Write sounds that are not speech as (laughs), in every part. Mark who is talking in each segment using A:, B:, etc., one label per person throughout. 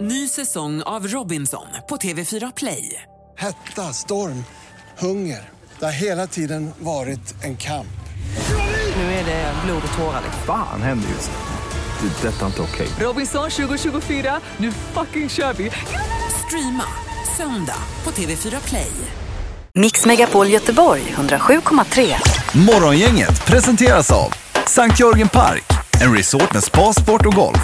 A: Ny säsong av Robinson på TV4 Play.
B: Hetta, storm, hunger. Det har hela tiden varit en kamp.
A: Nu är det blod och tårar. liksom.
C: Fan händer just nu. Det. är Detta är inte okej.
A: Robinson 2024, nu fucking kör vi! Streama söndag på TV4 Play.
D: Mix Megapol Göteborg 107,3.
E: Morgongänget presenteras av Sankt Jörgen Park, en resort med spa, sport och golf.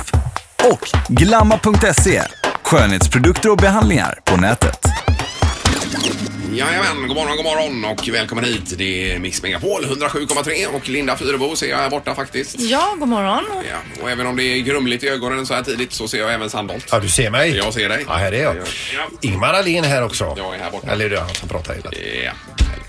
E: Och Glamma.se, skönhetsprodukter och behandlingar på nätet.
F: Jajamän, god morgon, god morgon och välkommen hit. Det är Mix Megapol 107,3 och Linda Fyrebo ser jag här borta faktiskt.
G: Ja, god morgon.
F: Ja, och även om det är grumligt i ögonen så här tidigt så ser jag även Sandholt.
H: Ja, du ser mig.
F: Jag ser dig.
H: Ja, här är jag.
F: Ja.
H: Ingmar Ahlén här också.
F: Jag är här borta. Eh,
H: Eller är det han som pratar hela tiden?
F: Ja.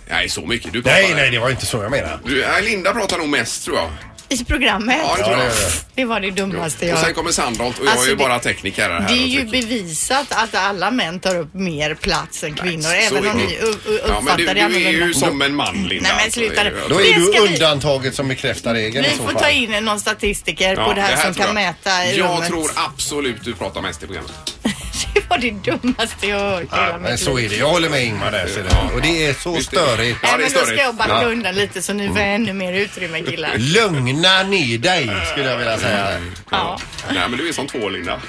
F: Nej, så mycket. Du
H: Nej, nej, det var inte så jag menade.
F: Du, nej, Linda pratar nog mest tror jag.
G: I programmet.
F: Ja, det tror
H: Ja,
F: jag.
H: det gör
G: Det var det dummaste
F: Och
G: jag
F: sen kommer Sandholt och jag
G: Alltså,
F: är ju
G: det-
F: bara tekniker här.
G: Det är
F: och
G: ju
F: trycker.
G: bevisat att alla män tar upp mer plats än kvinnor.
F: Så
G: även
F: är
G: om
F: det.
G: ni u- u-
F: Ja, men
G: uppfattar
F: du,
G: det
F: du är ju
G: annorlunda.
F: som en man Linda.
G: Nej, men
F: alltså, det är
G: sluta
F: ju-
G: nu.
F: jag
H: Då
F: tror-
H: är
G: Det
H: du
G: ska vi-
H: undantaget som bekräftar regeln i
G: Vi
H: så
G: får
H: fall.
G: ta in någon statistiker
F: Ja,
G: på det här, som
F: tror
G: kan
F: jag.
G: mäta i
F: Jag
G: rummet.
F: tror absolut du pratar mest i programmet.
G: (laughs) Det var det dummaste jag har hört i hela
H: Ja, men
G: mitt
H: så
G: liv.
H: är det. Jag håller med Ingmar där. ser du. Och det är så
F: Visst är
H: störigt.
G: Nej,
F: Ja, det är
G: men då ska
F: störigt.
G: jag backa
H: Ja. Mm.
G: undan lite så ni får ännu mer utrymme killar.
H: Lugna ner dig skulle jag vilja säga.
G: Ja,
F: Nej, men du är som två Linda.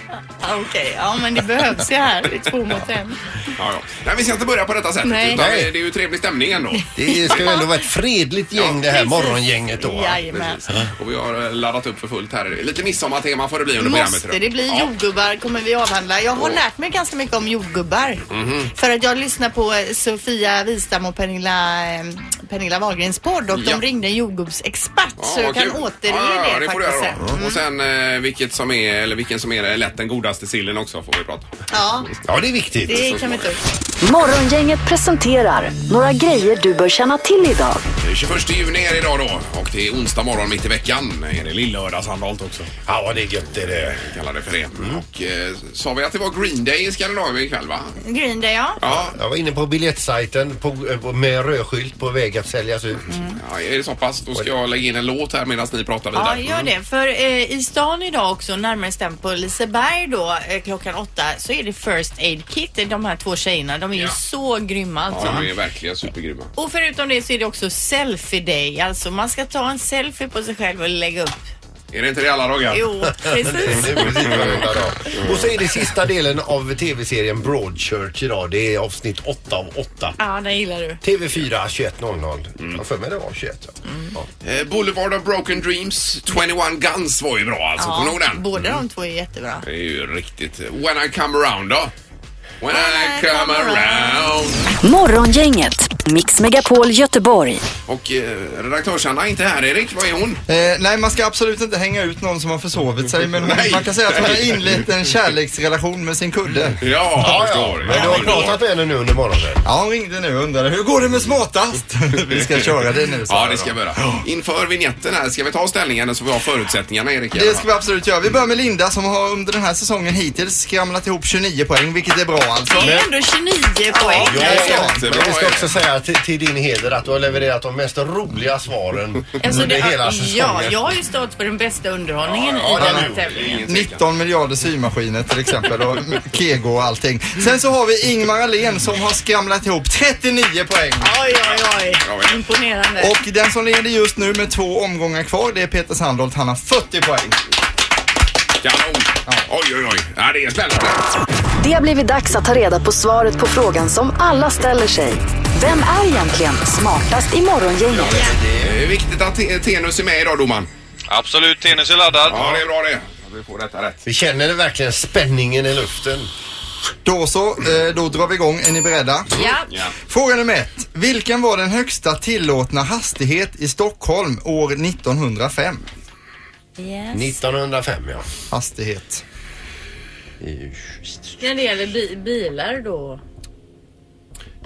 G: okej. Ja, men det behövs ju här. Det är två mot en.
F: Ja, ja. Nej, vi ska inte börja på detta sättet.
G: Nej.
F: Utan
H: Nej.
F: det det är ju trevlig
G: (laughs)
F: stämning ändå.
H: Det ska ju ändå vara ett fredligt gäng det här
G: Precis.
H: morgongänget då.
G: Jajamän.
F: Precis. Och vi har eh, laddat upp för fullt här. Lite midsommartema får det bli under programmet.
G: Måste
F: idag.
G: det bli jordgubbar kommer vi avhandla. Jag har lärt mig ganska mycket om jordgubbar.
F: Mhm.
G: För att jag lyssnar på eh, Sofia Wistam och Pernilla, eh, Pernilla Wahlgrens podd och
F: Ja.
G: de ringde en jordgubbsexpert.
F: Ja,
G: så jag
F: vad
G: kan
F: kul.
G: återge
F: ja, ja,
G: det,
F: det får du
G: faktiskt
F: göra
G: sen.
F: då. Och sen eh, vilket som är, eller vilken som är lätt den godaste sillen också får vi prata om.
G: Ja,
H: Ja, det är viktigt.
G: det kan vi ta upp.
D: Morgongänget presenterar några grejer du bör känna till idag.
F: Det är 21 juni är det idag då och det är onsdag morgon mitt i veckan. Är det lillördagshandalt också?
H: Ja, det är gött det är det.
F: Vi kallar det för det.
G: Mm.
F: Och eh, sa vi att det var Green Day i Skandinavien ikväll va?
G: Green Day, ja.
F: Ja.
H: Jag var inne på biljettsajten på, eh, på- med rödskylt på väg att säljas ut.
F: ja, är det så pass? Då ska jag lägga in en låt här medan ni pratar vidare.
G: Ja, gör det. För eh, i stan idag också, närmare bestämt på Liseberg då, eh, klockan åtta, så är det First Aid Kit. De här två tjejerna, de är ju
F: Ja.
G: så grymma alltså.
F: Ja, de är verkligen supergrymma.
G: Och förutom det så är det också selfie day. Alltså man ska ta en selfie på sig själv och lägga upp.
F: Är det inte det alla dagar? (laughs)
G: Jo, precis.
H: Nu är det lite varenda dag. Och så är det sista delen av tv-serien Broadchurch idag. Det är avsnitt 8 av 8.
G: Ja, den gillar du.
H: TV4 21.00. Jag har för mig det var 21. ja. Ja.
F: Eh, Boulevard of Broken Dreams, 21 Guns var ju bra alltså. Kommer du ihåg den?
G: båda de två är jättebra.
F: Det är ju riktigt... When I come around då? When I come around.
D: Morgongänget, Mix Megapol Göteborg.
F: Och eh, redaktörs-Anna är inte här Erik, vad är hon?
I: Eh, nej, man ska absolut inte hänga ut någon som har försovit sig, men hon,
F: Nej.
I: man kan säga att hon har inlett en kärleksrelation med sin kudde.
F: Ja, jag förstår.
H: Men du har pratat med henne nu under morgonen.
I: Ja, hon ringde nu och undrade hur går det
F: (laughs)
I: med smartast? vi ska köra det nu.
F: Mm.
I: sa
F: Ja,
I: jag
F: det
I: då.
F: ska vi göra. Inför vignetten här, ska vi ta ställningen så vi har förutsättningarna Erik?
I: Det ska vi absolut göra. Vi börjar med Linda som har under den här säsongen hittills skramlat ihop 29 poäng, vilket är bra alltså.
G: Det är ändå 29 poäng.
H: Ja,
F: jättebra,
H: men vi ska
F: Erik.
H: också säga till, till din heder att du har levererat de mest roliga svaren
G: Alltså,
H: under
G: det,
H: hela
G: ja,
H: säsongen.
G: jag har ju stått för den bästa underhållningen
F: Ja,
G: i
F: det
G: den
F: har
G: här
F: du.
G: tävlingen.
F: Ingen tvekan.
I: 19 miljarder symaskiner till exempel och Kego och allting. Sen så har vi Ingmar Ahlén som har skramlat ihop 39 poäng.
G: Oj, oj, oj.
F: Bra.
G: Imponerande.
I: Och den som leder just nu med två omgångar kvar, det är Peter Sandholt. Han har 40 poäng.
F: Kanon! Oj, oj, oj. Ja, det är spännande.
D: Det har blivit dags att ta reda på svaret på frågan som alla ställer sig. Vem är egentligen smartast i morgongänget?
F: Eh, Det är viktigt att Te- Tenus är med idag domaren.
J: Absolut, tennis är laddad.
F: Ja, det är bra det. Vi får detta rätt.
H: Vi känner verkligen spänningen i luften.
I: Då så, eh, då drar vi igång. Är ni beredda?
G: Ja.
F: Ja.
I: Fråga nummer ett. Vilken var den högsta tillåtna hastighet i Stockholm år 1905?
H: 1905 ja.
I: Hastighet.
G: När det gäller bi- bilar då.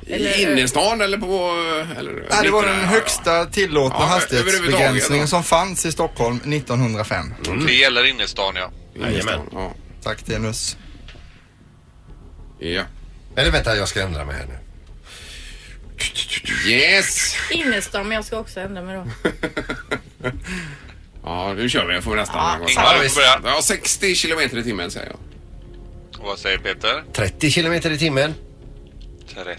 G: Eller-
F: I innerstan eller på... Eller,
I: Nej, det var den
F: Ja, ja.
I: högsta tillåtna
F: Ja, överhuvudtaget,
I: hastighetsbegränsningen
F: ja.
I: som fanns i Stockholm 1905.
J: Det gäller innerstan, ja.
H: Jajamän.
F: Ja.
I: Tack Tenus.
F: ja.
H: Eller vänta, jag ska ändra mig här nu.
F: Yes!
G: Innerstan, men jag ska också ändra mig då.
F: Ja, nu kör vi. Jag får nästan.
G: Ja,
F: Ja,
I: Ah,
J: Ingmar, du får börja.
F: ja, 60 kilometer i timmen säger jag.
J: Och vad säger Peter?
H: 30 kilometer i timmen.
J: 30.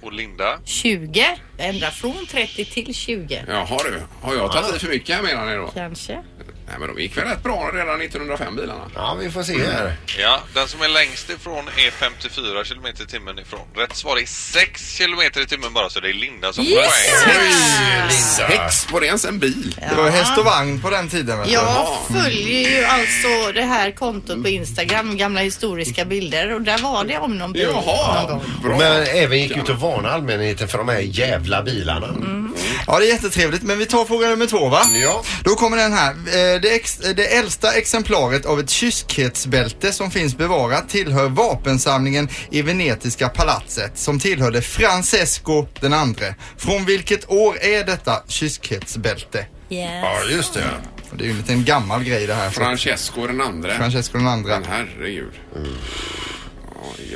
J: Och Linda?
G: 20. Ändra från 30 till 20.
F: Jaha du, har jag tagit i för mycket här menar ni då?
G: Kanske.
F: Nej men de gick väl rätt bra redan 1905 bilarna?
H: Ja, vi får se här.
J: Ja, den som är längst ifrån är 54 km i timmen ifrån. Rätt svar är 6 km i timmen bara så det är Linda som får poäng.
F: Sex, var det ens en bil?
I: Det var häst och vagn på den tiden. Vet du.
G: Jag följer ju alltså det här kontot på Instagram, gamla historiska bilder och där var det om någon bil någon
F: Jaha,
G: gång.
F: bra.
H: Men även gick ut och varnade allmänheten för de här jävla bilarna.
G: Mm.
I: Ja, det är jättetrevligt. Men vi tar fråga nummer två, va?
H: Ja.
I: Då kommer den här. Eh, Det, ex, det äldsta exemplaret av ett kyskhetsbälte som finns bevarat tillhör vapensamlingen i Venetiska palatset som tillhörde Francesco den andre. Från vilket år är detta kyskhetsbälte?
G: Yeah.
F: Ja, just det.
I: Och Det är ju en liten gammal grej det här.
F: Francesco den andre.
I: Francesco den andre.
F: Men herregud. Oj,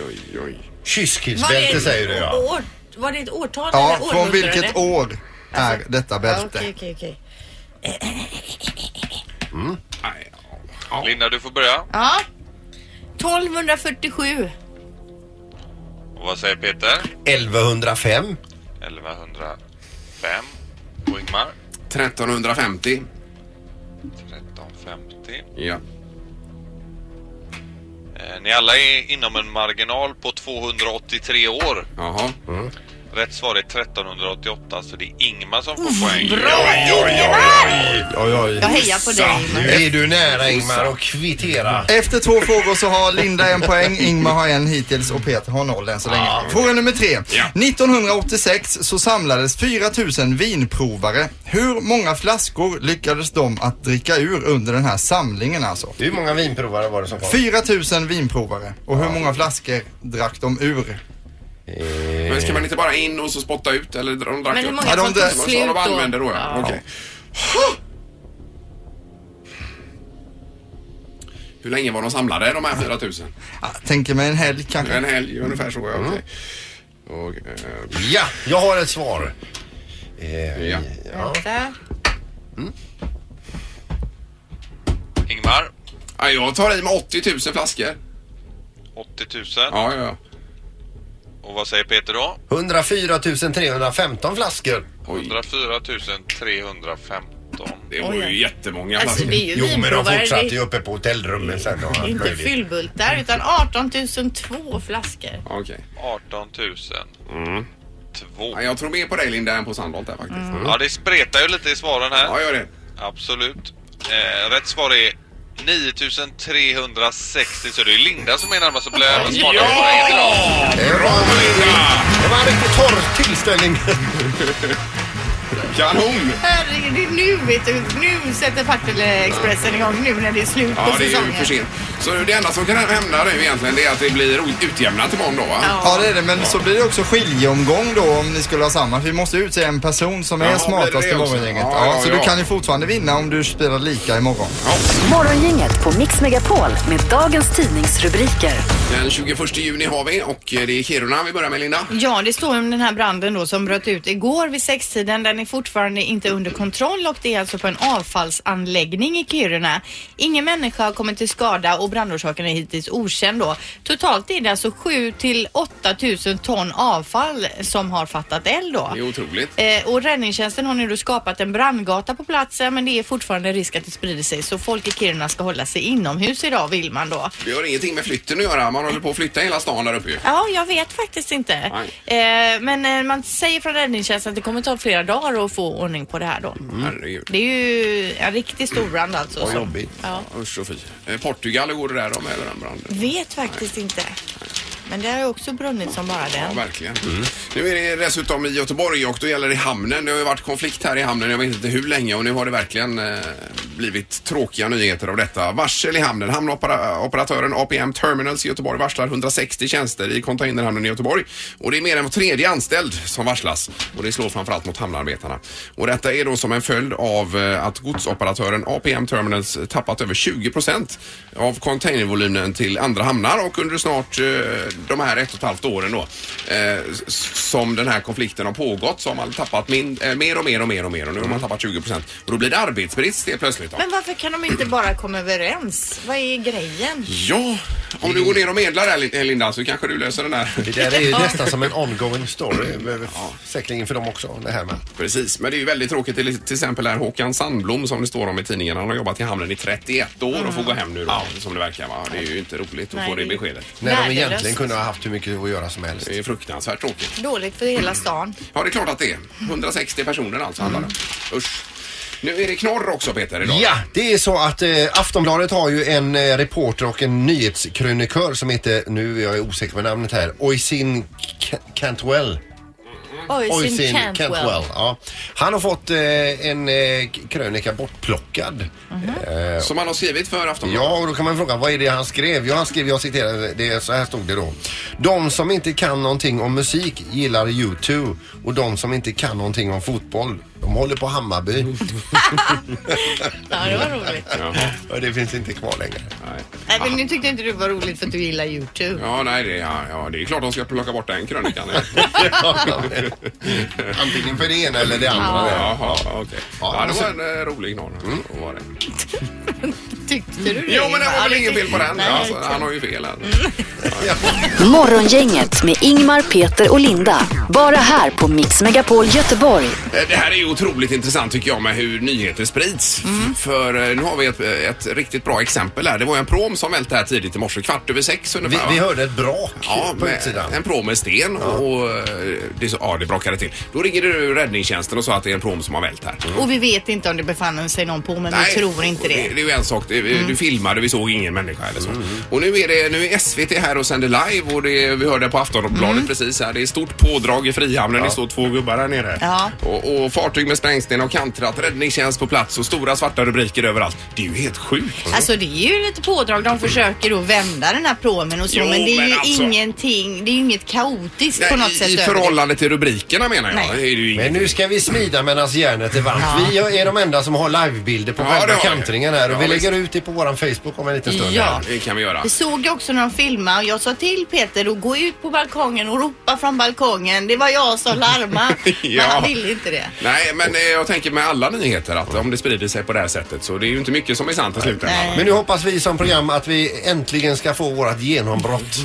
F: oj, oj.
H: Kyskhetsbälte säger du ja.
G: År, var det ett årtal
I: Ja,
G: eller
I: från
G: århundrade?
I: vilket år är
G: Alltså,
I: detta
G: Ja,
I: bälte?
G: Okej, okej, okej.
F: Nej, ja.
J: Linda, du får börja.
G: Ja. 1247.
J: Och vad säger Peter?
H: 1105.
J: 1105. Och Ingmar?
F: 1350.
J: 1350.
F: Ja.
J: Eh, ni alla är inom en marginal på 283 år.
F: Jaha.
J: Rätt svar är 1388 så det är Ingmar som får poäng.
F: Oj, oj, oj, oj.
H: Oj, oj.
G: Jag hejar på dig.
H: Nu är du nära Ingmar och kvittera.
I: Efter två frågor så har Linda en poäng, Ingmar har en hittills och Peter har noll än så länge. Fråga nummer tre.
F: Ja.
I: 1986 så samlades 4000 vinprovare. Hur många flaskor lyckades de att dricka ur under den här samlingen alltså?
H: Hur många vinprovare var det som kom?
I: 4000 vinprovare och hur många flaskor drack de ur?
F: Men ska man inte bara in och så spotta ut eller de drack
G: Men hur
F: upp?
G: många
I: Ja, de
G: som
I: där-
G: tog
F: Så de
G: slut då?
F: använde då ja.
G: Ja.
F: Okej. Hur länge var de samlade de här 4000?
I: Ah, Tänker mig en helg
F: En
I: kanske.
F: helg ungefär så ja. Okej. Och, eh,
H: Ja, jag har ett svar. Eh,
F: ja.
G: Vänta.
J: Ingmar?
F: ja. Jag tar i med 80 000 flaskor.
J: 80 000.
F: Ja, ja, ja.
J: Och vad säger Peter då?
H: 104 315 flaskor.
F: Oj.
J: 104 315.
F: Det var ju
G: Oj.
F: jättemånga
G: Alltså
F: flaskor.
G: det är ju
H: Jo, men de
G: vinprovare.
H: fortsatte
G: Det
H: ju uppe på hotellrummen sen. och allt
G: är inte
H: möjligt.
G: fyllbultar utan 18 002 flaskor.
F: Okej.
J: 18 000. Mm. Två.
F: Ja, jag tror mer på dig Linda än på Sandholt där faktiskt.
G: Mm.
J: Ja, det spretar ju lite i svaren
F: Ja,
J: här.
F: gör det.
J: Absolut. Eh, rätt svar är 9360 så det är Linda som är närmast och blir även smartare på poängen idag.
H: Bra Linda! Eh, Det var en riktigt torr tillställning.
F: Kanon!
G: Herregud, det är nu vet du. Nu sätter Partille Expressen igång nu när det är slut på
F: Ja, det är ju
G: säsongen.
F: för sent. Så det enda som kan hända nu egentligen det är att det blir o- utjämnat imorgon då va?
G: Ja.
I: Ja det är det, men så blir det också skiljeomgång då om ni skulle ha samma. För vi måste utse en person som är
F: Jaha, blir
I: smartast
F: det
I: i
F: det också?
I: morgongänget.
F: Ja,
I: Ja,
F: ja,
I: så du
F: ja.
I: kan ju fortfarande vinna om du spelar lika imorgon.
D: Morgongänget på Mix Megapol med dagens tidningsrubriker.
F: Den 21 juni har vi och eh, det är Kiruna vi börjar med Linda.
G: Ja, det står om den här branden då som bröt ut igår vid sextiden. Den är fortfarande inte under kontroll och det är alltså på en avfallsanläggning i Kiruna. Ingen människa har kommit till skada och brandorsaken är hittills okänd då. Totalt är det alltså 7 till 8 000 ton avfall som har fattat eld då.
F: Det är otroligt.
G: Eh, och räddningstjänsten har nu då skapat en brandgata på platsen men det är fortfarande risk att det sprider sig så folk i Kiruna ska hålla sig inomhus idag vill man då.
F: Det har ingenting med flytten att göra. Man håller på att flytta hela stan där uppe ju.
G: Ja, jag vet faktiskt inte. Eh, men eh, man säger från räddningstjänsten att det kommer ta flera dagar att få ordning på det här då.
F: Herregud.
G: Det är ju en riktig storbrand alltså. Vad
H: jobbigt.
G: Ja.
F: Usch och fy. Eh, Portugal, hur går det där då med den branden?
G: Vet faktiskt inte. Men det har ju också brunnit som bara
F: Ja,
G: den.
F: verkligen. Nu är det dessutom i Göteborg och då gäller det hamnen. Det har ju varit konflikt här i hamnen, jag vet inte hur länge och nu har det verkligen eh, blivit tråkiga nyheter av detta. Varsel i hamnen. Hamnoperatören APM Terminals i Göteborg varslar 160 tjänster i containerhamnen i Göteborg och det är mer än var tredje anställd som varslas och det slår framförallt mot hamnarbetarna. Och detta är då som en följd av eh, att godsoperatören APM Terminals tappat över 20 procent av containervolymen till andra hamnar och under snart eh, de här ett och ett halvt åren då eh, s- som den här konflikten har pågått så har man tappat min, eh, mer och mer och mer och mer och nu har man tappat 20 procent. Och då blir det arbetsbrist helt plötsligt. Då.
G: Men varför kan de inte bara komma överens? Vad är grejen?
F: Ja, om du går ner och medlar där Lin- Linda så kanske du löser den här.
H: Det där (laughs) är ju nästan som en ongoing story. Ja. Säkerligen för dem också, det här med.
F: Precis, men det är ju väldigt tråkigt till, till exempel här Håkan Sandblom som det står om i tidningen. Han har jobbat i hamnen i 31 år och får gå hem nu då, som det verkar. Va? Det är ju inte roligt att
G: Nej,
F: få det
G: det är-
F: beskedet.
H: När de
G: Värdelöst.
H: egentligen kunde ha haft hur mycket att göra som helst.
F: Det är ju fruktansvärt tråkigt.
G: Dåligt för hela stan.
F: Ja, det är klart att det är. 160 personer alltså handlar det.
G: Mm.
F: Usch. Nu är det knorr också Peter idag.
H: Ja, det är så att eh, Aftonbladet har ju en eh, reporter och en nyhetskrönikör som heter, nu är jag osäker på namnet här, Oisin Ca- Cantwell.
G: Oisin Cantwell.
H: Ja. Han har fått eh, en eh, krönika bortplockad.
G: Mm.
F: Som han har skrivit för Aftonbladet.
H: Ja, och då kan man fråga vad är det han skrev? Ja, han skrev, jag citerar, det, så här stod det då. De som inte kan någonting om musik gillar U2 och de som inte kan någonting om fotboll, de håller på Hammarby.
G: Ja, det var
F: (laughs)
G: roligt.
F: Jaha,
H: Och det finns inte kvar längre.
F: nej.
G: Nej, men nu tyckte inte du var roligt för att du gillar YouTube.
F: Ja, nej, det, ja, ja, det är klart de ska plocka bort den krönikan.
H: (laughs) Antingen för det ena eller det andra.
F: Jaha, okej. Ja, det var en eh, rolig knorr. Så var det.
G: Tyckte du det?
F: Jo, men det
G: Ingmar?
F: var väl
G: Ja,
F: inget
G: tyck-
F: fel på den.
G: Nej,
F: Alltså,
G: okej.
F: han har ju fel. här.
G: Mm.
D: Morgongänget med Ingmar, Peter och Linda. Bara här på Mix Megapol Göteborg.
F: Eh, Det här är ju otroligt intressant tycker jag med hur nyheter sprids.
H: Mm.
F: För eh, nu har vi ett, ett riktigt bra exempel här. Det var ju en prom som välte här tidigt i morse, kvart över sex
H: Vi,
F: ungefär.
H: vi
F: va?
H: hörde ett brak
F: Ja,
H: på
F: med
H: utsidan.
F: en pråm med sten och, och eh, det, så- ja, det brakade till. Då ringer du räddningstjänsten och sa att det är en pråm som har vält här.
G: Och vi vet inte om det befann sig någon på, men
F: Nej, Mm.
G: vi tror inte
F: Det,
G: det. Mm.
F: är ju en sak. Det, Du filmade, vi såg ingen människa eller
H: Mm.
F: så. Och nu är, det, nu är SVT här och sänder live och det, vi hörde på Aftonbladet
G: Mm.
F: precis här. Det är stort pådrag i Frihamnen. Det står två gubbar här nere.
G: Ja.
F: Och, och fartyg med sprängsten har kantrat, räddningstjänst på plats och stora svarta rubriker överallt. Det är ju helt sjukt.
G: Alltså det är ju lite pådrag. De försöker då vända den här pråmen och så,
F: Jo,
G: men det är
F: men
G: ju
F: alltså-
G: ingenting. Det är ju inget kaotiskt på något
F: I,
G: sätt.
F: I
G: över det.
F: förhållande till rubrikerna menar jag.
G: Nej.
F: Det är ju
H: Men
F: ingenting.
H: nu ska vi smida medan järnet är varmt. Vi är de enda som har livebilder på
F: Ja, det
H: själva
F: har vi.
H: kantringen här och
F: Ja,
H: vi
F: visst.
H: lägger ut det på våran Facebook om en liten stund.
G: Ja.
H: här.
F: Det kan vi göra.
G: Vi såg ju också när de filmade och jag sa till Peter att gå ut på balkongen och ropa från balkongen. Det var jag som larmade.
F: (laughs) Ja.
G: Men han ville inte det.
F: Nej, men eh, jag tänker med alla nyheter att om det sprider sig på det här sättet så det är ju inte mycket som är sant i slutändan.
G: Nej.
H: Men nu hoppas vi som program att vi äntligen ska få vårt
G: (laughs)
H: genombrott.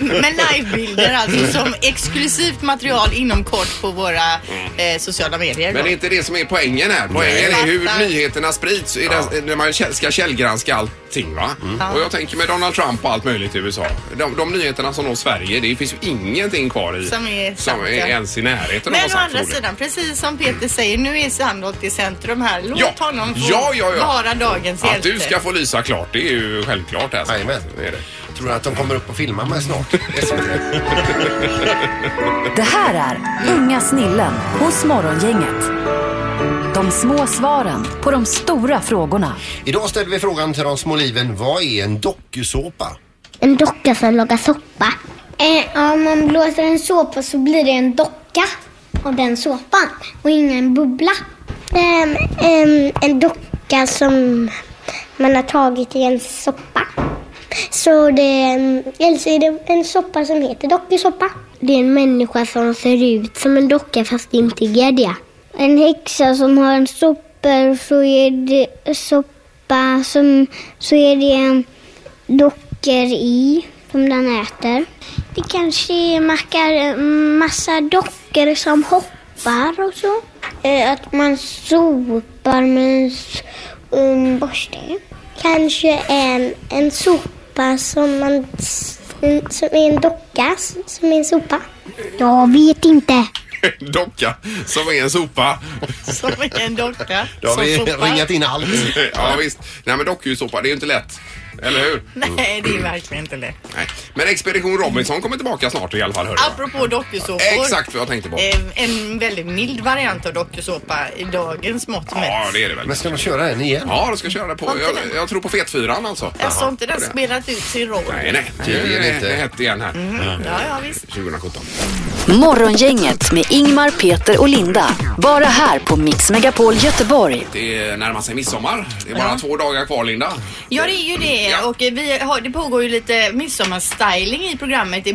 G: Men livebilder
F: Mm.
G: alltså som exklusivt material inom kort på våra eh, sociala medier.
F: Mm. Men det är inte det som är poängen här. Poängen är hur
G: Fattar.
F: nyheterna sprids i den, när man käll- ska källgranska allting. Va?
H: Mm.
F: Och jag tänker med Donald Trump och allt möjligt i USA. De, de nyheterna som når Sverige, det finns ju ingenting kvar i
G: Som är sant, ja.
F: ens i närheten
G: Men
F: av vad
G: å
F: som
G: andra
F: förmodligen.
G: sidan, precis som Peter säger, nu är Sandholt i centrum här. Låt
F: Ja.
G: honom få
F: Ja, ja, ja.
G: vara dagens
F: Att
G: hjälte.
F: du ska få lysa klart, det är ju självklart. Alltså.
H: Jajamän.
F: Det är det. (laughs)
H: Tror du att de kommer upp och filmar mig snart?
D: Det här är Unga snillen hos Morgongänget. De små svaren på de stora frågorna.
H: Idag ställer vi frågan till de små liven. Vad är en dokusåpa?
K: En docka som lagar soppa. Eh, om man blåser en såpa så blir det en docka av den såpan och ingen bubbla. en docka som man har tagit i en soppa. Så det, är- eller så är det en soppa som heter dokusåpa. Det är en människa som ser ut som en docka fast inte är det. En häxa som har en soppa så är det soppa som så är det en dockor i som den äter. Det kanske är mackar, massa dockor som hoppar och så. Eh, Att man sopar med en s- en borste. Kanske en, en sopa som, man, s- en- som är en docka, s- som är en sopa. Jag vet inte.
F: Docka som är en sopa. (laughs)
G: Som är en docka.
H: Då har
G: som
H: vi
G: sopar.
H: ringat in allt.
F: ja, visst. Nej, men dokusåpa, det är ju inte lätt. Eller hur?
G: Nej, det är verkligen inte lätt.
F: Nej. Men Expedition Robinson kommer tillbaka snart i alla fall. Hörde jag.
G: Apropå dokusåpor.
F: Exakt vad jag tänkte på.
G: Eh, En väldigt mild variant av dokusåpa i dagens mått
F: Ja,
G: mätt.
F: det är det väl.
H: Men ska de köra den igen?
F: Ja, då ska jag köra det på.
G: Var inte
F: Jag,
G: den?
F: jag tror på Fetfyran alltså.
G: Alltså har inte den
F: På det.
G: spelat ut sin roll.
F: Nej, nej.
H: Tydligen
F: Det är-
H: inte.
F: Det är hett igen här.
G: Ja, ja visst.
F: 2017.
D: Morgongänget med Ingmar, Peter och Linda. Bara här på Mix Megapol Göteborg.
F: Det närmar sig midsommar. Det är bara två dagar kvar, Linda.
G: Ja, det är ju det.
F: Ja.
G: Och eh, vi har, det pågår ju lite midsommarstyling i programmet i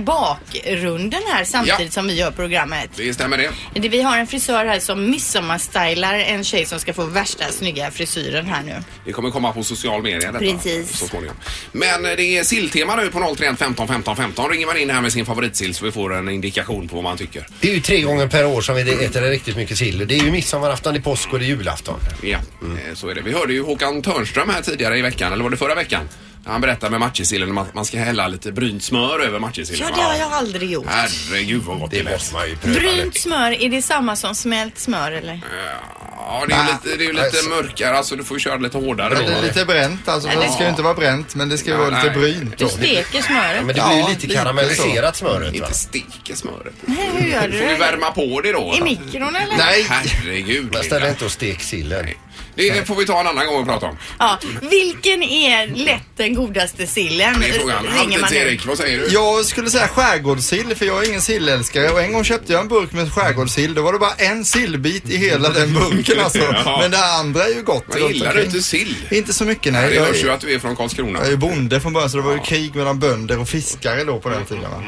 G: bakgrunden här samtidigt som vi gör programmet.
F: Det stämmer det.
G: Det- Vi har en frisör här som midsommarstylar en tjej som ska få värsta snygga frisyren här nu.
F: Det kommer komma på social media detta.
G: Precis.
F: Så småningom. Men eh, det är silltema nu på 031 15 15 15. Ringer man in här med sin favoritsill så vi får en indikation på vad man tycker.
H: Det är ju tre gånger per år som vi äter riktigt mycket sill. Det är ju midsommarafton, det är påsk och det är julafton.
F: Ja, eh, så är det. Vi hörde ju Håkan Törnström här tidigare i veckan, eller var det förra veckan? Han berättade med matjessillen att man ska hälla lite brynt smör över matjessillen.
G: Ja, det har jag aldrig gjort.
F: Herregud vad gott det lät.
G: Brynt smör, är det samma som smält smör eller?
F: Ja, det är ju lite, det är ju lite mörkare, alltså du får ju köra lite hårdare
I: Det är
F: då.
I: lite bränt alltså.
G: Nej,
I: för Det
G: det-
I: ska ju inte vara bränt men det ska ju vara lite
F: Nej.
I: brynt.
G: Du steker smöret.
H: Men det blir ju
I: Ja,
H: lite
I: lite
H: karamelliserat
I: så.
H: smöret va?
F: Inte steker smöret.
G: Nej, hur
F: (laughs)
G: gör
F: Får du
G: du?
F: värma på det då?
G: I mikron eller?
I: Nej!
F: Herregud.
H: Men ställ
F: Linda.
H: inte och stek sillen.
F: Det får vi ta en annan gång och prata om.
G: Ja, vilken är lätt den godaste sillen?
F: Det är frågan.
G: Ringer man
F: Halvtids
G: nu.
F: Erik, vad säger du?
I: Jag skulle säga skärgårdssill för jag är ingen sillälskare och en gång köpte jag en burk med skärgårdssill. Då var det bara en sillbit i hela den burken alltså.
F: Ja.
I: Men det andra är ju gott.
F: Men gillar du inte sill?
I: Inte så mycket
F: Det
I: nej. Jag
F: hörs ju
I: är,
F: att du är från Karlskrona.
I: jag är ju bonde från början så det var ju krig mellan bönder och fiskare då på den tiden va.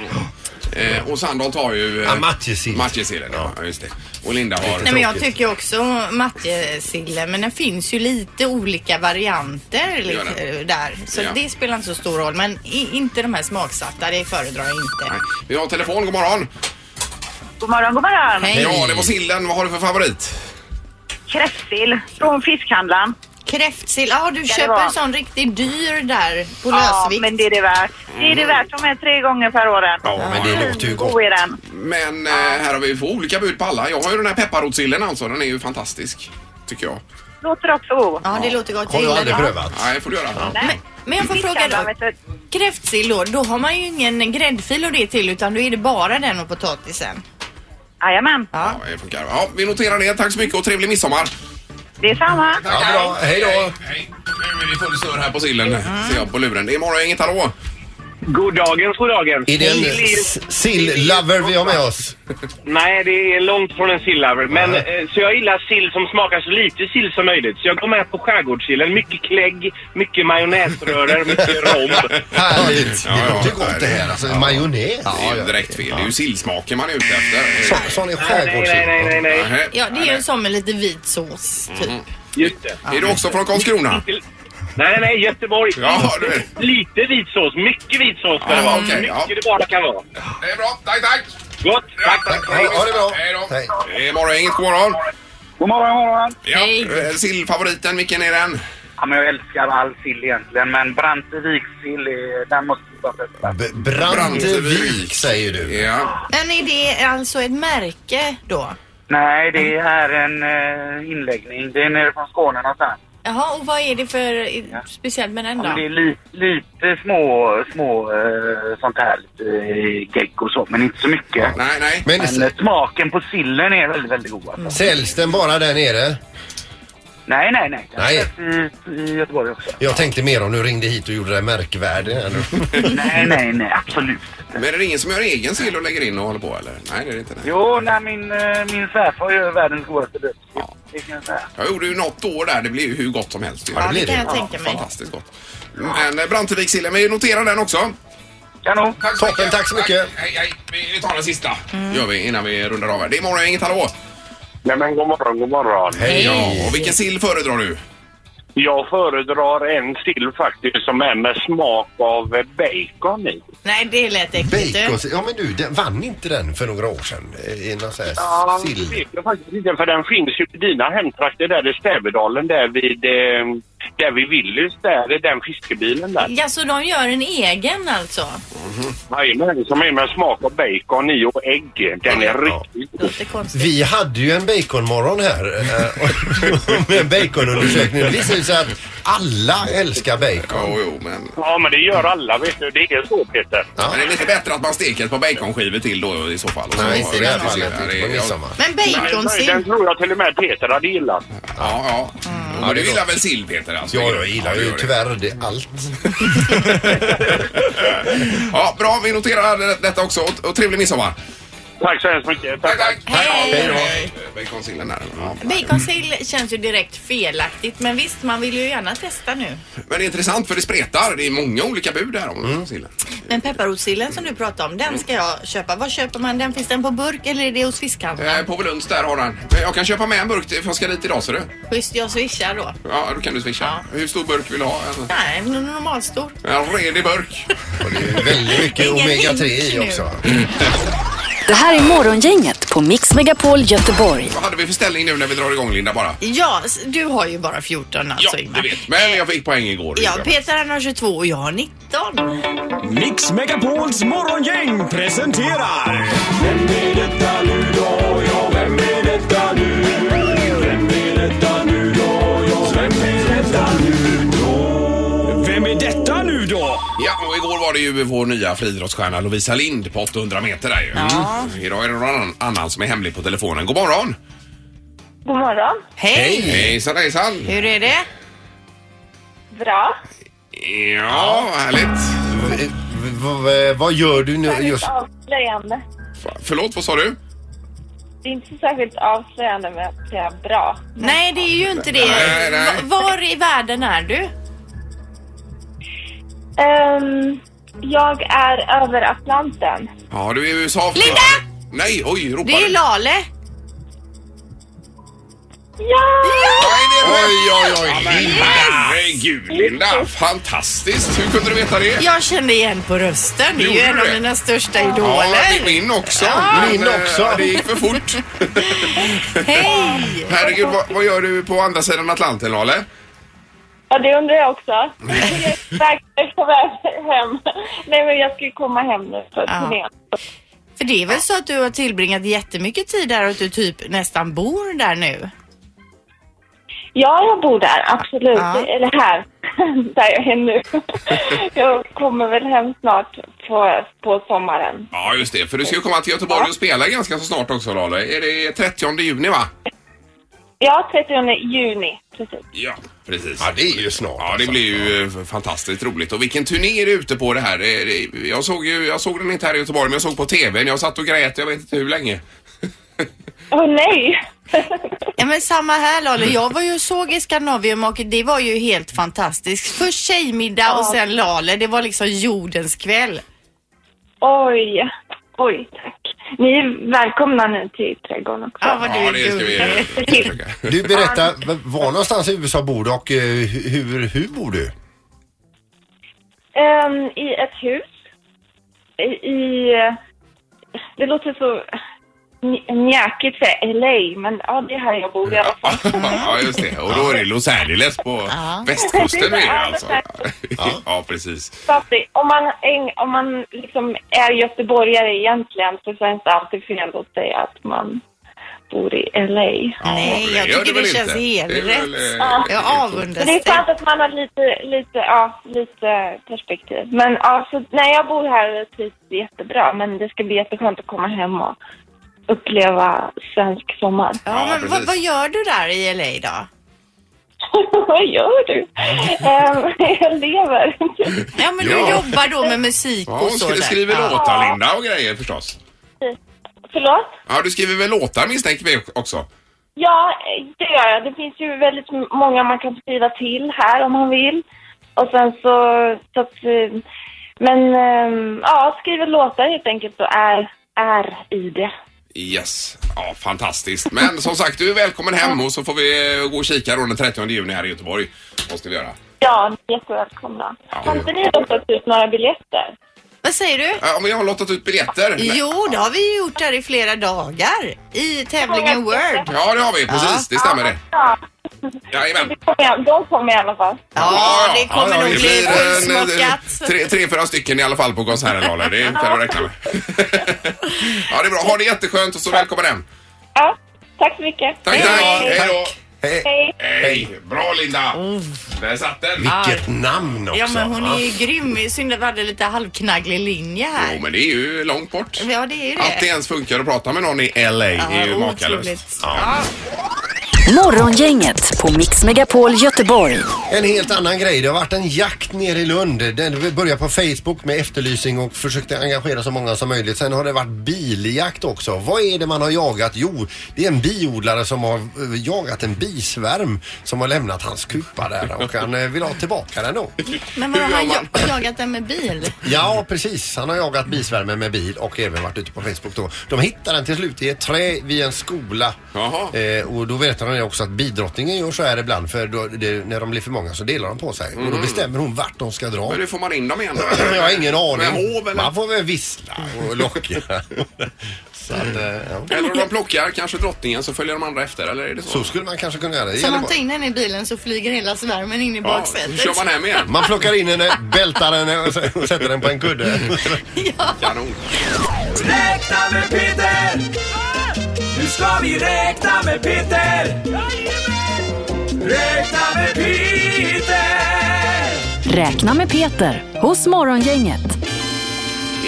F: Eh, och Sandholt har ju...
H: Ja, matjessill.
F: Matjessillen, ja. just det. Och Linda har...
G: Nej men jag tycker också mattesillen men den finns ju lite olika varianter
F: gör
G: lite där. Så
F: Ja.
G: det spelar inte så stor roll men i, inte de här smaksatta, det föredrar jag inte.
F: Vi har telefon, god morgon.
L: God morgon, god morgon.
G: Hej.
F: Ja, det var sillen. Vad har du för favorit?
L: Kräftsill från fiskhandlaren.
G: Kräftsill, ja du
L: Ska det
G: köper
L: vara?
G: en sån riktigt dyr där på
L: Ja,
G: lösvikt.
L: men det är det värt. Det är det värt. De är tre gånger per år. än.
F: Ja, men det
L: Fin
H: låter ju
L: och god
H: gott.
L: är den.
F: Men eh, här har vi fått olika bud på alla. Jag har ju den här pepparrotssillen alltså. Den är ju fantastisk, tycker jag.
L: Låter också god.
G: Ja, det låter gott.
H: Har du
G: gillar
H: aldrig
G: det.
H: prövat?
F: Nej, det får du göra.
G: Men, men jag får fråga
L: Fiskhandlaren,
G: då.
L: vet du.
G: Kräftsill då, då har man ju ingen gräddfil och det till utan då är det bara den och potatisen.
L: Jajamän,
F: Ja, det funkar. Ja, vi noterar det. Tack så mycket och trevlig midsommar.
L: det är samma.
H: Ja, bra. Hej då!
F: Hej. Nu är det full snurr här på sillen, ser jag på luren. Det är morgongänget, hallå!
M: God dagens, god dagens.
H: Är det en s- sill-lover vi har med oss?
M: Nej, det är långt från en silllover. Men, eh, så jag gillar sill som smakar så lite sill som möjligt. Så jag går med på skärgårdssillen. Mycket klägg, mycket majonnäsröror, mycket
F: (laughs)
M: rom.
H: Härligt!
F: Ja, ja,
H: Det låter gott det här alltså. Majonnäs.
F: Det är ju direkt fel. Det är ju sillsmaken man är ute efter.
H: Så- Sån är
M: Nej, nej, nej, nej,
H: skärgårdssill.
M: nej.
F: Nähä.
G: Ja, det är ju som med lite vit sås typ.
M: Just det.
F: Är du också från Karlskrona?
M: Till- Nej, nej, nej, Göteborg.
F: Ja, du är.
M: Lite vit sås, mycket vit sås ska det
F: Ja,
M: vara.
F: okej, ja.
M: mycket det bara kan vara.
F: Det är bra. Tack, tack!
M: Gott, tack, tack.
H: Ha, ha det bra.
F: Hej då!
H: Hej.
F: Det är morgongänget, god morgon!
M: God morgon, god morgon.
F: Ja.
G: Hej.
F: eh, Sillfavoriten, vilken är den?
M: Ja, men jag älskar all sill egentligen, men Branteviksill, är- den måste vara bästa.
H: B- Brantevik säger du.
F: Ja.
G: Men är det alltså ett märke då?
M: Nej, det är en eh, inläggning. Det är nere från Skåne någonstans.
G: Jaha, och vad är det för i- speciellt med den
M: Ja, men det är
G: då?
M: li, lite små, små eh, sånt här, lite eh, gegg och så, men inte så mycket.
F: Nej, nej.
H: Men
M: Men eh, smaken på sillen är väldigt, väldigt god. Alltså.
H: säljs den bara där nere?
M: Nej, nej, nej. Den
H: Nej.
M: finns I, I Göteborg också.
H: Jag tänkte mer om du ringde hit och gjorde dig märkvärdig. här nu.
M: Nej, nej, nej, absolut.
F: Men är det ingen som gör egen sill och lägger in och håller på eller? Nej, det är det inte. Nej.
M: Jo, nej, min, eh, min svärfar gör världens godaste bröd. Det kan jag säga.
F: Jag gjorde ju något år där. Det blev ju hur gott som helst. ju.
G: Ja,
H: blir
G: det kan
H: det.
G: jag tänka mig.
F: Fantastiskt gott. Men eh, Brantevikssillen, vi noterar den också.
M: Kanon.
F: Tack
H: Toppen, tack så mycket.
F: Hej, hej. Vi- Vi tar den sista. Mm. gör vi innan vi rundar av här. Det är morgon, inget hallå.
M: Nej, men god morgon, god morgon.
H: Hej.
F: Ja, och vilken sill föredrar du?
M: Jag föredrar en sill faktiskt som är med smak av eh, bacon i.
G: Nej, det lät äckligt du.
H: Bacon. Ja men du, den, vann inte den för några år sedan? Eh, I någon sån här
M: det
H: sill?
M: vet jag faktiskt inte för den finns ju i dina hemtrakter där i Stävedalen där vid, eh, där vid Willys där, är den fiskebilen där.
G: Ja, så de gör en egen alltså?
M: Jajamän, som är med smak av bacon i och ägg. Den är riktigt god.
G: Låter konstigt.
H: Vi hade ju en baconmorgon här eh, (laughs) och- med en baconundersökning. Det visade sig att alla älskar bacon.
F: Jo, jo, men...
M: Ja, men det gör alla vet du. Det är så Peter.
F: Men det är lite bättre att man steker ett par baconskivor till då i så fall. Och så-
H: Nej, inte i det här
F: Ja,
H: fallet.
F: det är-
H: Inte på midsommar.
G: Men
M: Nej, Den
G: baconsill?
M: tror jag till och med Peter hade gillat.
F: Ja, ja. Men du gillar väl sill, Peter? Alltså?
H: Ja, jag gillar
F: Ja, du
H: ju
F: gör det.
H: tyvärr det, allt.
F: Ja, bra. Vi noterar detta också. Och, och trevlig midsommar.
M: Tack så hemskt mycket.
F: Tack, tack.
G: Hej.
F: Hej då. Baconsillen där. Ja.
G: Baconsill känns ju direkt felaktigt men visst, man vill ju gärna testa nu.
F: Men det är intressant för det spretar. Det är många olika bud här om sillen.
G: Men pepparrotssillen som du pratade om, den ska jag köpa. Var köper man den? Finns den på burk eller är det hos fiskhandlaren?
F: Eh, Povelunds där har han. Men jag kan köpa med en burk till, för jag ska dit idag ser du.
G: Schysst, jag swishar då.
F: Ja, då kan du swisha. Hur stor burk vill du ha? En,
G: Nej, en normalstor.
F: en redig burk.
H: Det är väldigt mycket
G: Ingen
H: omega
G: hink
H: 3 i
G: nu.
H: också.
D: Det här är Morgongänget på Mix Megapol Göteborg.
F: Vad hade vi för ställning nu när vi drar igång Linda bara?
G: Ja, s- du har ju bara 14 alltså
F: ja,
G: Ingmar.
F: det vet. Men jag fick poäng igår.
G: Ja,
F: Linda.
G: Peter han har 22 och jag har 19.
N: Mix Megapols morgongäng presenterar Vem är detta nu då? Ja, vem är detta nu? Vem är detta nu då? Ja, vem är detta nu då? Vem är detta nu då?
F: Ja, och igår var det ju vår nya friidrottsstjärna Lovisa Lind på 800 meter där ju. Mm. Idag är det någon annan- annan som är hemlig på telefonen. God morgon!
L: God morgon.
F: Hej! Hejsan hejsan!
G: Hur är det?
L: Bra.
F: Ja, härligt.
H: V- v- eh, Vad gör du nu
L: Särskilt
H: just
L: avslöjande.
F: Förlåt, vad sa du?
L: Det är inte så särskilt avslöjande med att säga bra.
G: Nej, det är ju inte det.
L: Nej, nej.
G: Va- Var i världen är du?
L: Ehm, jag är över Atlanten.
F: Ja, du är i USA. för-
L: Linda!
F: Nej, oj, ropar
G: Det är ju
F: du?
G: Lale.
M: (laughs)
F: Oj, oj, oj! Linda! Herregud, Linda! Fantastiskt! Hur kunde du veta det?
G: Jag kände igen på rösten. Det är ju
F: Gjorde
G: en
F: du
G: av
F: det?
G: mina största
F: Ja, det är
G: idoler.
F: min också.
G: Ja.
F: Men,
G: Min
F: eh,
G: också.
F: Det gick för fort.
G: Hej!
F: Herregud, vad, vad gör du på andra sidan Atlanten, Lale?
L: Ja, det undrar jag också.
M: (laughs)
L: Jag är verkligen på väg hem. Nej, men jag ska ju komma hem nu för
G: Ja.
L: turnén.
G: För det är väl så att du har tillbringat jättemycket tid där och att du typ nästan bor där nu?
L: Ja, jag bor där, absolut.
G: Ja.
L: Eller här, där jag är nu. Jag kommer väl hem snart på, på sommaren.
F: Ja, just det. För du ska ju komma till Göteborg och spela ganska så snart också, Lale. Är det 30 juni, va?
L: Ja, 30 juni. Precis.
F: Ja, precis.
H: Ja, det är ju snart.
F: Ja, det blir ju eh, fantastiskt roligt. Och vilken turné är du ute på det här? Eh, det- Jag såg, ju, jag såg den inte här i Göteborg, men jag såg på TVn. Jag satt och grät, jag vet inte hur länge.
L: Åh nej!
G: Ja men samma här Lale,
F: Mm.
G: jag var ju och såg i Skandinavium och det var ju helt fantastiskt. Först tjejmiddag och sen Lale, det var liksom jordens kväll.
L: Oj, oj, tack. Ni är välkomna nu till trädgården också.
G: Ja, vad du
F: Ja, det ska vi eh, försöka.
H: Du berättar, v- var någonstans i USA bor du och eh, hu- hur, hur bor du?
L: Ehm, I ett hus. I, i... Det låter så nj- mjäkigt för LA, men ja, det är här jag bor i alla fall.
F: (laughs) Ja, just det. Och då är det Los Angeles på
L: Ja.
F: västkusten är det alltså.
L: Ja,
F: Ja, (laughs) precis.
L: Så att det- Om man, en- om man liksom är göteborgare egentligen så känns det alltid fel att säga att man bor i LA.
G: Nej, jag
F: det gör
G: tycker
F: det
G: det,
F: väl
G: känns
F: inte.
G: helt
F: Det är
G: rätt.
F: väl, eh,
G: jag avundas
L: Men det är
G: dig.
L: klart att man har lite, lite, ja, lite perspektiv. Men ja, så, nej, jag bor här och trivs jättebra. Men det ska bli jätteskönt att komma hem och uppleva svensk sommar. (laughs)
G: Ja, men vad, vad gör du där i LA då?
L: vad gör du? Ehm, (laughs) jag lever.
G: Ja men du
F: Ja.
G: jobbar då med musik
F: Ja,
G: och
F: hon
G: så
F: skri-
G: där.
F: skriver
G: ja.
F: låtar, Linda, och grejer förstås.
L: Förlåt?
F: Ja, du skriver väl låtar misstänker vi också?
L: Ja, det gör jag. Det finns ju väldigt många man kan skriva till här om man vill. Och sen så... så att, eh, men ehm, ja, skriver låtar helt enkelt och är, är i det.
F: Yes. Ja, fantastiskt. Men som sagt, du är välkommen hem och så får vi eh, gå och kika då den 30 juni här i Göteborg. Måste vi göra.
L: Ja, ni är jättevälkomna. Har inte ni lottat ut några biljetter?
G: Vad säger du?
F: Ja, men jag har lottat ut biljetter.
G: Jo, det har vi ju gjort där i flera dagar. I tävlingen Word.
F: Ja, det har vi. Precis, det stämmer det.
L: Ja,
F: Jajamän.
L: det kommer, de kommer i alla fall.
G: Ja, det kommer nog bli
F: det blir en, eh,
G: fullsmockat.
F: tre, tre, fyra stycken i alla fall på konserten, Lale. Det kan du räkna med. (laughs) Ja, det är bra. Ha det jätteskönt och så välkommen hem.
L: Ja, tack så mycket.
F: Tack, tack. Hej då.
H: Eh,
L: Hej.
F: Hej. Bra, Linda. Där satt den.
H: Vilket namn också!
G: Ja, men hon är ju
H: va?
G: grym. Synd att vi hade lite halvknagglig linje här.
F: Jo, men det är ju långt bort.
G: Ja, det är ju det.
F: Att det ens funkar att prata med någon i LA är ju makalöst.
G: otroligt.
F: Ja.
D: Morgongänget på Mix Megapol Göteborg.
H: En helt annan grej. Det har varit en jakt nere i Lund. Den började på Facebook med efterlysning och försökte engagera så många som möjligt. Sen har det varit biljakt också. Vad är det man har jagat? Jo, det är en biodlare som har eh, jagat en bisvärm som har lämnat hans kupa där och han eh, vill ha tillbaka den då.
G: Men vad har han jag- jagat den med bil?
H: Ja, precis. Han har jagat bisvärmen med bil och även varit ute på Facebook då. De hittade den till slut i ett träd vid en skola. Eh, och då vet han ju också att bidrottningen gör så här ibland för då, det, när de blir för många så delar de på sig. Och då
F: Mm.
H: bestämmer hon vart de ska dra.
F: Men hur får man in dem igen då?
H: (clears throat) (laughs) Jag har ingen aning.
F: Med hov eller?
H: Man får väl vissla och locka. (laughs) så att, eh, ja.
F: Eller om de plockar kanske drottningen så följer de andra efter eller är det så?
H: Så skulle man kanske kunna göra.
G: Så man tar in den i bilen så flyger hela svärmen in i baksätet.
H: Man plockar in henne, bältar henne och s- och sätter den på
G: (laughs)
H: en kudde.
F: Kanon.
N: Räkna med Peter! Nu ska vi räkna med Peter! Räkna med Peter!
D: Räkna med Peter hos Morgongänget.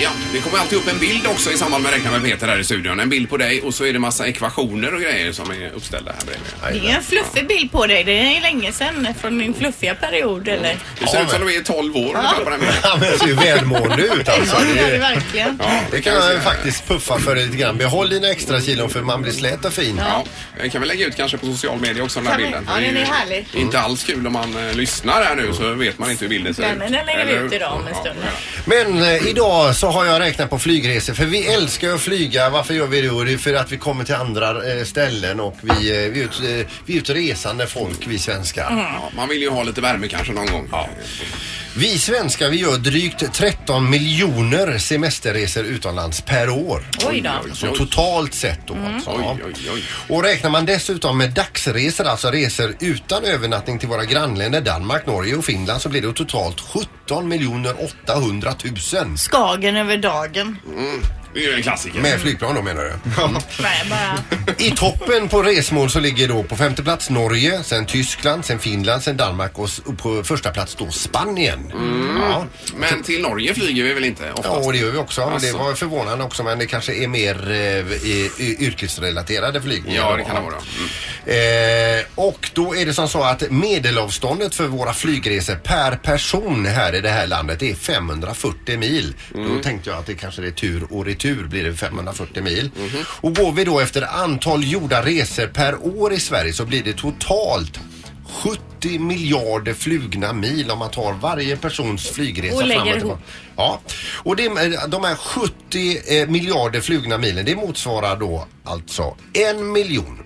F: Ja, det kommer alltid upp en bild också i samband med Räkna med Peter här i studion. En bild på dig och så är det massa ekvationer och grejer som är uppställda här bredvid.
G: Det är en fluffig bild på dig. Det är länge sedan från din fluffiga period eller?
F: Det ser ut som du är 12 år ungefär på den
H: (laughs)
F: bilden.
H: Han ser ju välmående ut alltså.
G: Ja, det
H: är
G: är
H: ju-
G: det verkligen.
H: Det kan jag faktiskt puffa för lite grann. Behåll dina extra kilon för man blir slät och fin.
F: Ja. Den kan vi lägga ut kanske på social media också den här
G: Kan vi?
F: bilden.
G: Ja, den
F: ju
G: är härlig. Mm.
F: Inte alls kul om man eh, lyssnar här nu så vet man inte hur bilden ser
G: Nej,
F: ut.
G: men den lägger vi
F: Eller
G: ut
F: hur?
G: idag om en stund. Mm.
H: Men eh, idag så har jag räknat på flygresor för vi älskar ju att flyga. Varför gör vi det? Jo, Det är för att vi kommer till andra eh, ställen och vi, eh, vi, är ut, eh, vi är ute resande folk vi svenskar.
F: Mm. Ja, man vill ju ha lite värme kanske någon gång.
H: Vi svenskar vi gör drygt 13 miljoner semesterresor utomlands per år.
G: Oj då.
H: Så totalt sett då
F: Mm.
H: alltså. ja.
F: Oj, oj, oj.
H: Och räknar man dessutom med dagsresor, alltså resor utan övernattning till våra grannländer Danmark, Norge och Finland så blir det totalt 17 miljoner 800 000.
G: Skagen över dagen.
F: Det är ju en klassiker.
H: Med flygplan då menar du?
G: Nej, bara...
H: (laughs) I toppen på resmål så ligger då på femte plats Norge, sen Tyskland, sen Finland, sen Danmark och s- och på första plats då Spanien. Ja.
F: Mm. Men till Norge flyger vi väl inte oftast?
H: Ja, och det gör vi också. Men Det
F: Alltså.
H: var förvånande också, men det kanske är mer eh, i- i- yrkesrelaterade flygningar.
F: Ja,
H: då,
F: det kan
H: va?
F: det vara.
H: Eh, och då är det som så att medelavståndet för våra flygresor per person här i det här landet är 540 mil.
F: Mm.
H: Då tänkte jag att det kanske är tur och retur blir det 540 mil.
F: Mhm.
H: Och går vi då efter antal gjorda resor per år i Sverige så blir det totalt 70 miljarder flugna mil om man tar varje persons flygresa
G: Och lägger
H: fram och
G: ihop.
H: tillbaka. Ja, och det, eh, de här 70 eh, miljarder flugna milen det motsvarar då alltså 1 miljon